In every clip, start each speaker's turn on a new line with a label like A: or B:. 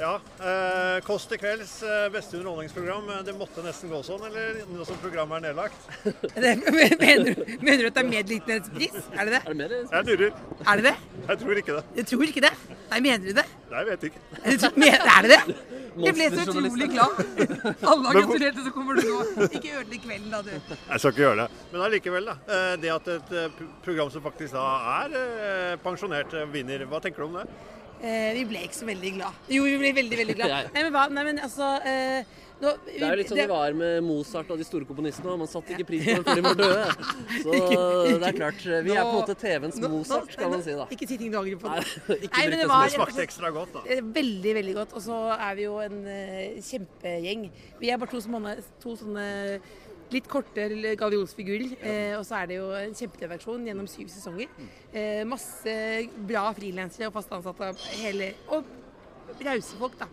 A: Ja. Eh, Kåss til kvelds, eh, beste underholdningsprogram. Eh, Det måtte nesten gå sånn, eller nå som programmet er nedlagt?
B: Det, mener, du- mener du at det er medlidenhetspris? Er det det?
C: Er det mer?
A: Jeg lurer.
B: Er det det?
A: Jeg tror ikke det.
B: Jeg tror ikke det. Nei, mener du det?
A: Nei, jeg vet ikke.
B: Jeg tror- men- Er det det? Jeg ble så
C: Monsterjournalist.
B: utrolig glad. Alle har
A: Men hvor-
B: gratulert, og så kommer du nå. Ikke ødelegg kvelden, da, du.
A: Jeg skal ikke gjøre det. Men allikevel, da. Eh, Det at et eh, pro- program som faktisk da er eh, pensjonert, eh, vinner. Hva tenker du om det?
B: Eh, vi ble ikke så veldig glad. Jo, vi ble veldig, veldig glad. Nei, men hva? Nei, men altså eh, nå,
C: Det er jo litt sånn det var med Mozart og de store komponistene. Man satte ikke pris på det før de var døde. Så det er klart. eh, Vi er på en måte TVens
B: Nå- nå-
C: Mozart, skal man si da.
B: Ikke si ting du angrer på.
C: Nei,
B: Nei,
C: ikke
B: men
C: drikk
B: det
C: det
B: var
A: Det smakte ekstra godt, da.
B: Eh, Veldig, veldig godt. Og så er vi jo en eh, kjempegjeng. Vi er bare to, sånne, to sånne litt korte gallionsfigurer. Eh, og så er det jo en kjempetv-aksjon gjennom syv sesonger. Eh, masse bra frilansere og fast ansatte. av Hele, og rause folk, da.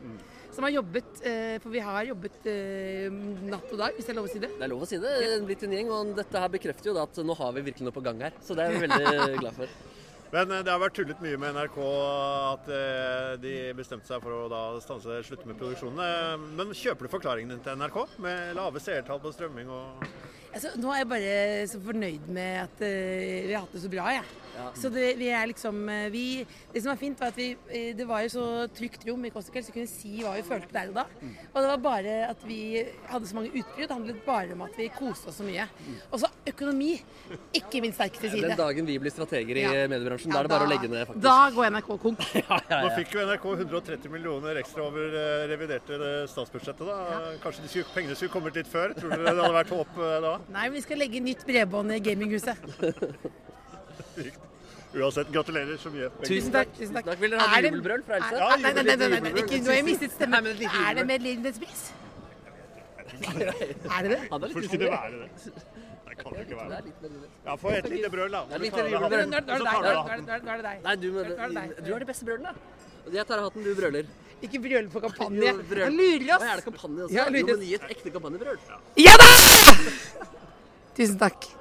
B: Som har jobbet, eh, for vi har jobbet eh, natt og dag, hvis det er lov å si det.
C: Det er lov å si det. En liten gjeng. Og dette her bekrefter jo da at nå har vi virkelig noe på gang her. Så det er vi veldig glad for.
A: Men eh, det har vært tullet mye med NRK at eh, de bestemte seg for å da stanse slutte med produksjonene. Men kjøper du forklaringen din til NRK med lave seertall på strømming og
B: Altså, nå er jeg bare så fornøyd med at eh, vi har hatt det så bra, jeg. Så det, vi er liksom eh, vi, Det som var fint, var at vi eh, Det var jo så trygt rom i Kåss til kvelds, så vi kunne si hva vi følte der og da.
C: Mm.
B: Og det var bare at vi hadde så mange utbrudd. Det handlet bare om at vi koste oss så mye.
C: Mm.
B: Og så økonomi. Ikke min sterkeste side.
C: Den dagen vi blir strateger i
B: Ja.
C: mediebransjen,
B: Ja,
C: da er det bare å legge ned, faktisk.
B: Da går NRK konk.
C: Ja, ja,
A: Nå
C: ja.
A: fikk jo NRK 130 millioner ekstra over eh, reviderte eh, statsbudsjettet. da. Eh, Kanskje de skulle, pengene skulle kommet litt før? Tror dere det hadde vært håp eh, da?
B: Nei, men vi skal legge nytt bredbånd i gaminghuset.
A: Uansett, gratulerer så mye.
C: Tusen takk. Tusen takk. Vil dere ha
B: Er det-
C: jubelbrøl fra Else?
B: Nei, nei, nei, nei, nei, nei,
A: jubelbrøl.
B: ikke, nå har jeg mistet
C: Nei,
B: stemmen.
C: men et lite
B: Er det
C: jubelbrøl.
B: med Lindens pris? Er det det?
C: Ja, det er litt
A: Hvorfor skulle det være det? Det kan det ikke være.
C: Det er litt veldig-
A: Ja, Få et lite brøl, da.
C: er
A: Så
C: litt
A: tar du av
C: jubelbrøl.
A: hatten.
B: Nå er det
A: Så tar
B: deg.
A: du av
B: Nå
A: hatten.
B: er det- nå er det- nå er det deg.
C: Nei, du,
B: Nå er det deg.
C: du er de beste brølene. Jeg tar hatten, du brøler.
B: Ikke brøl på kampanje.
C: Jo, brøl.
B: Han lurer
C: Å, er det
B: oss.
C: kampanje også?
B: Ja,
C: jo,
B: lurer.
C: men gi et ekte kampanjebrøl.
B: Ja da! Tusen takk.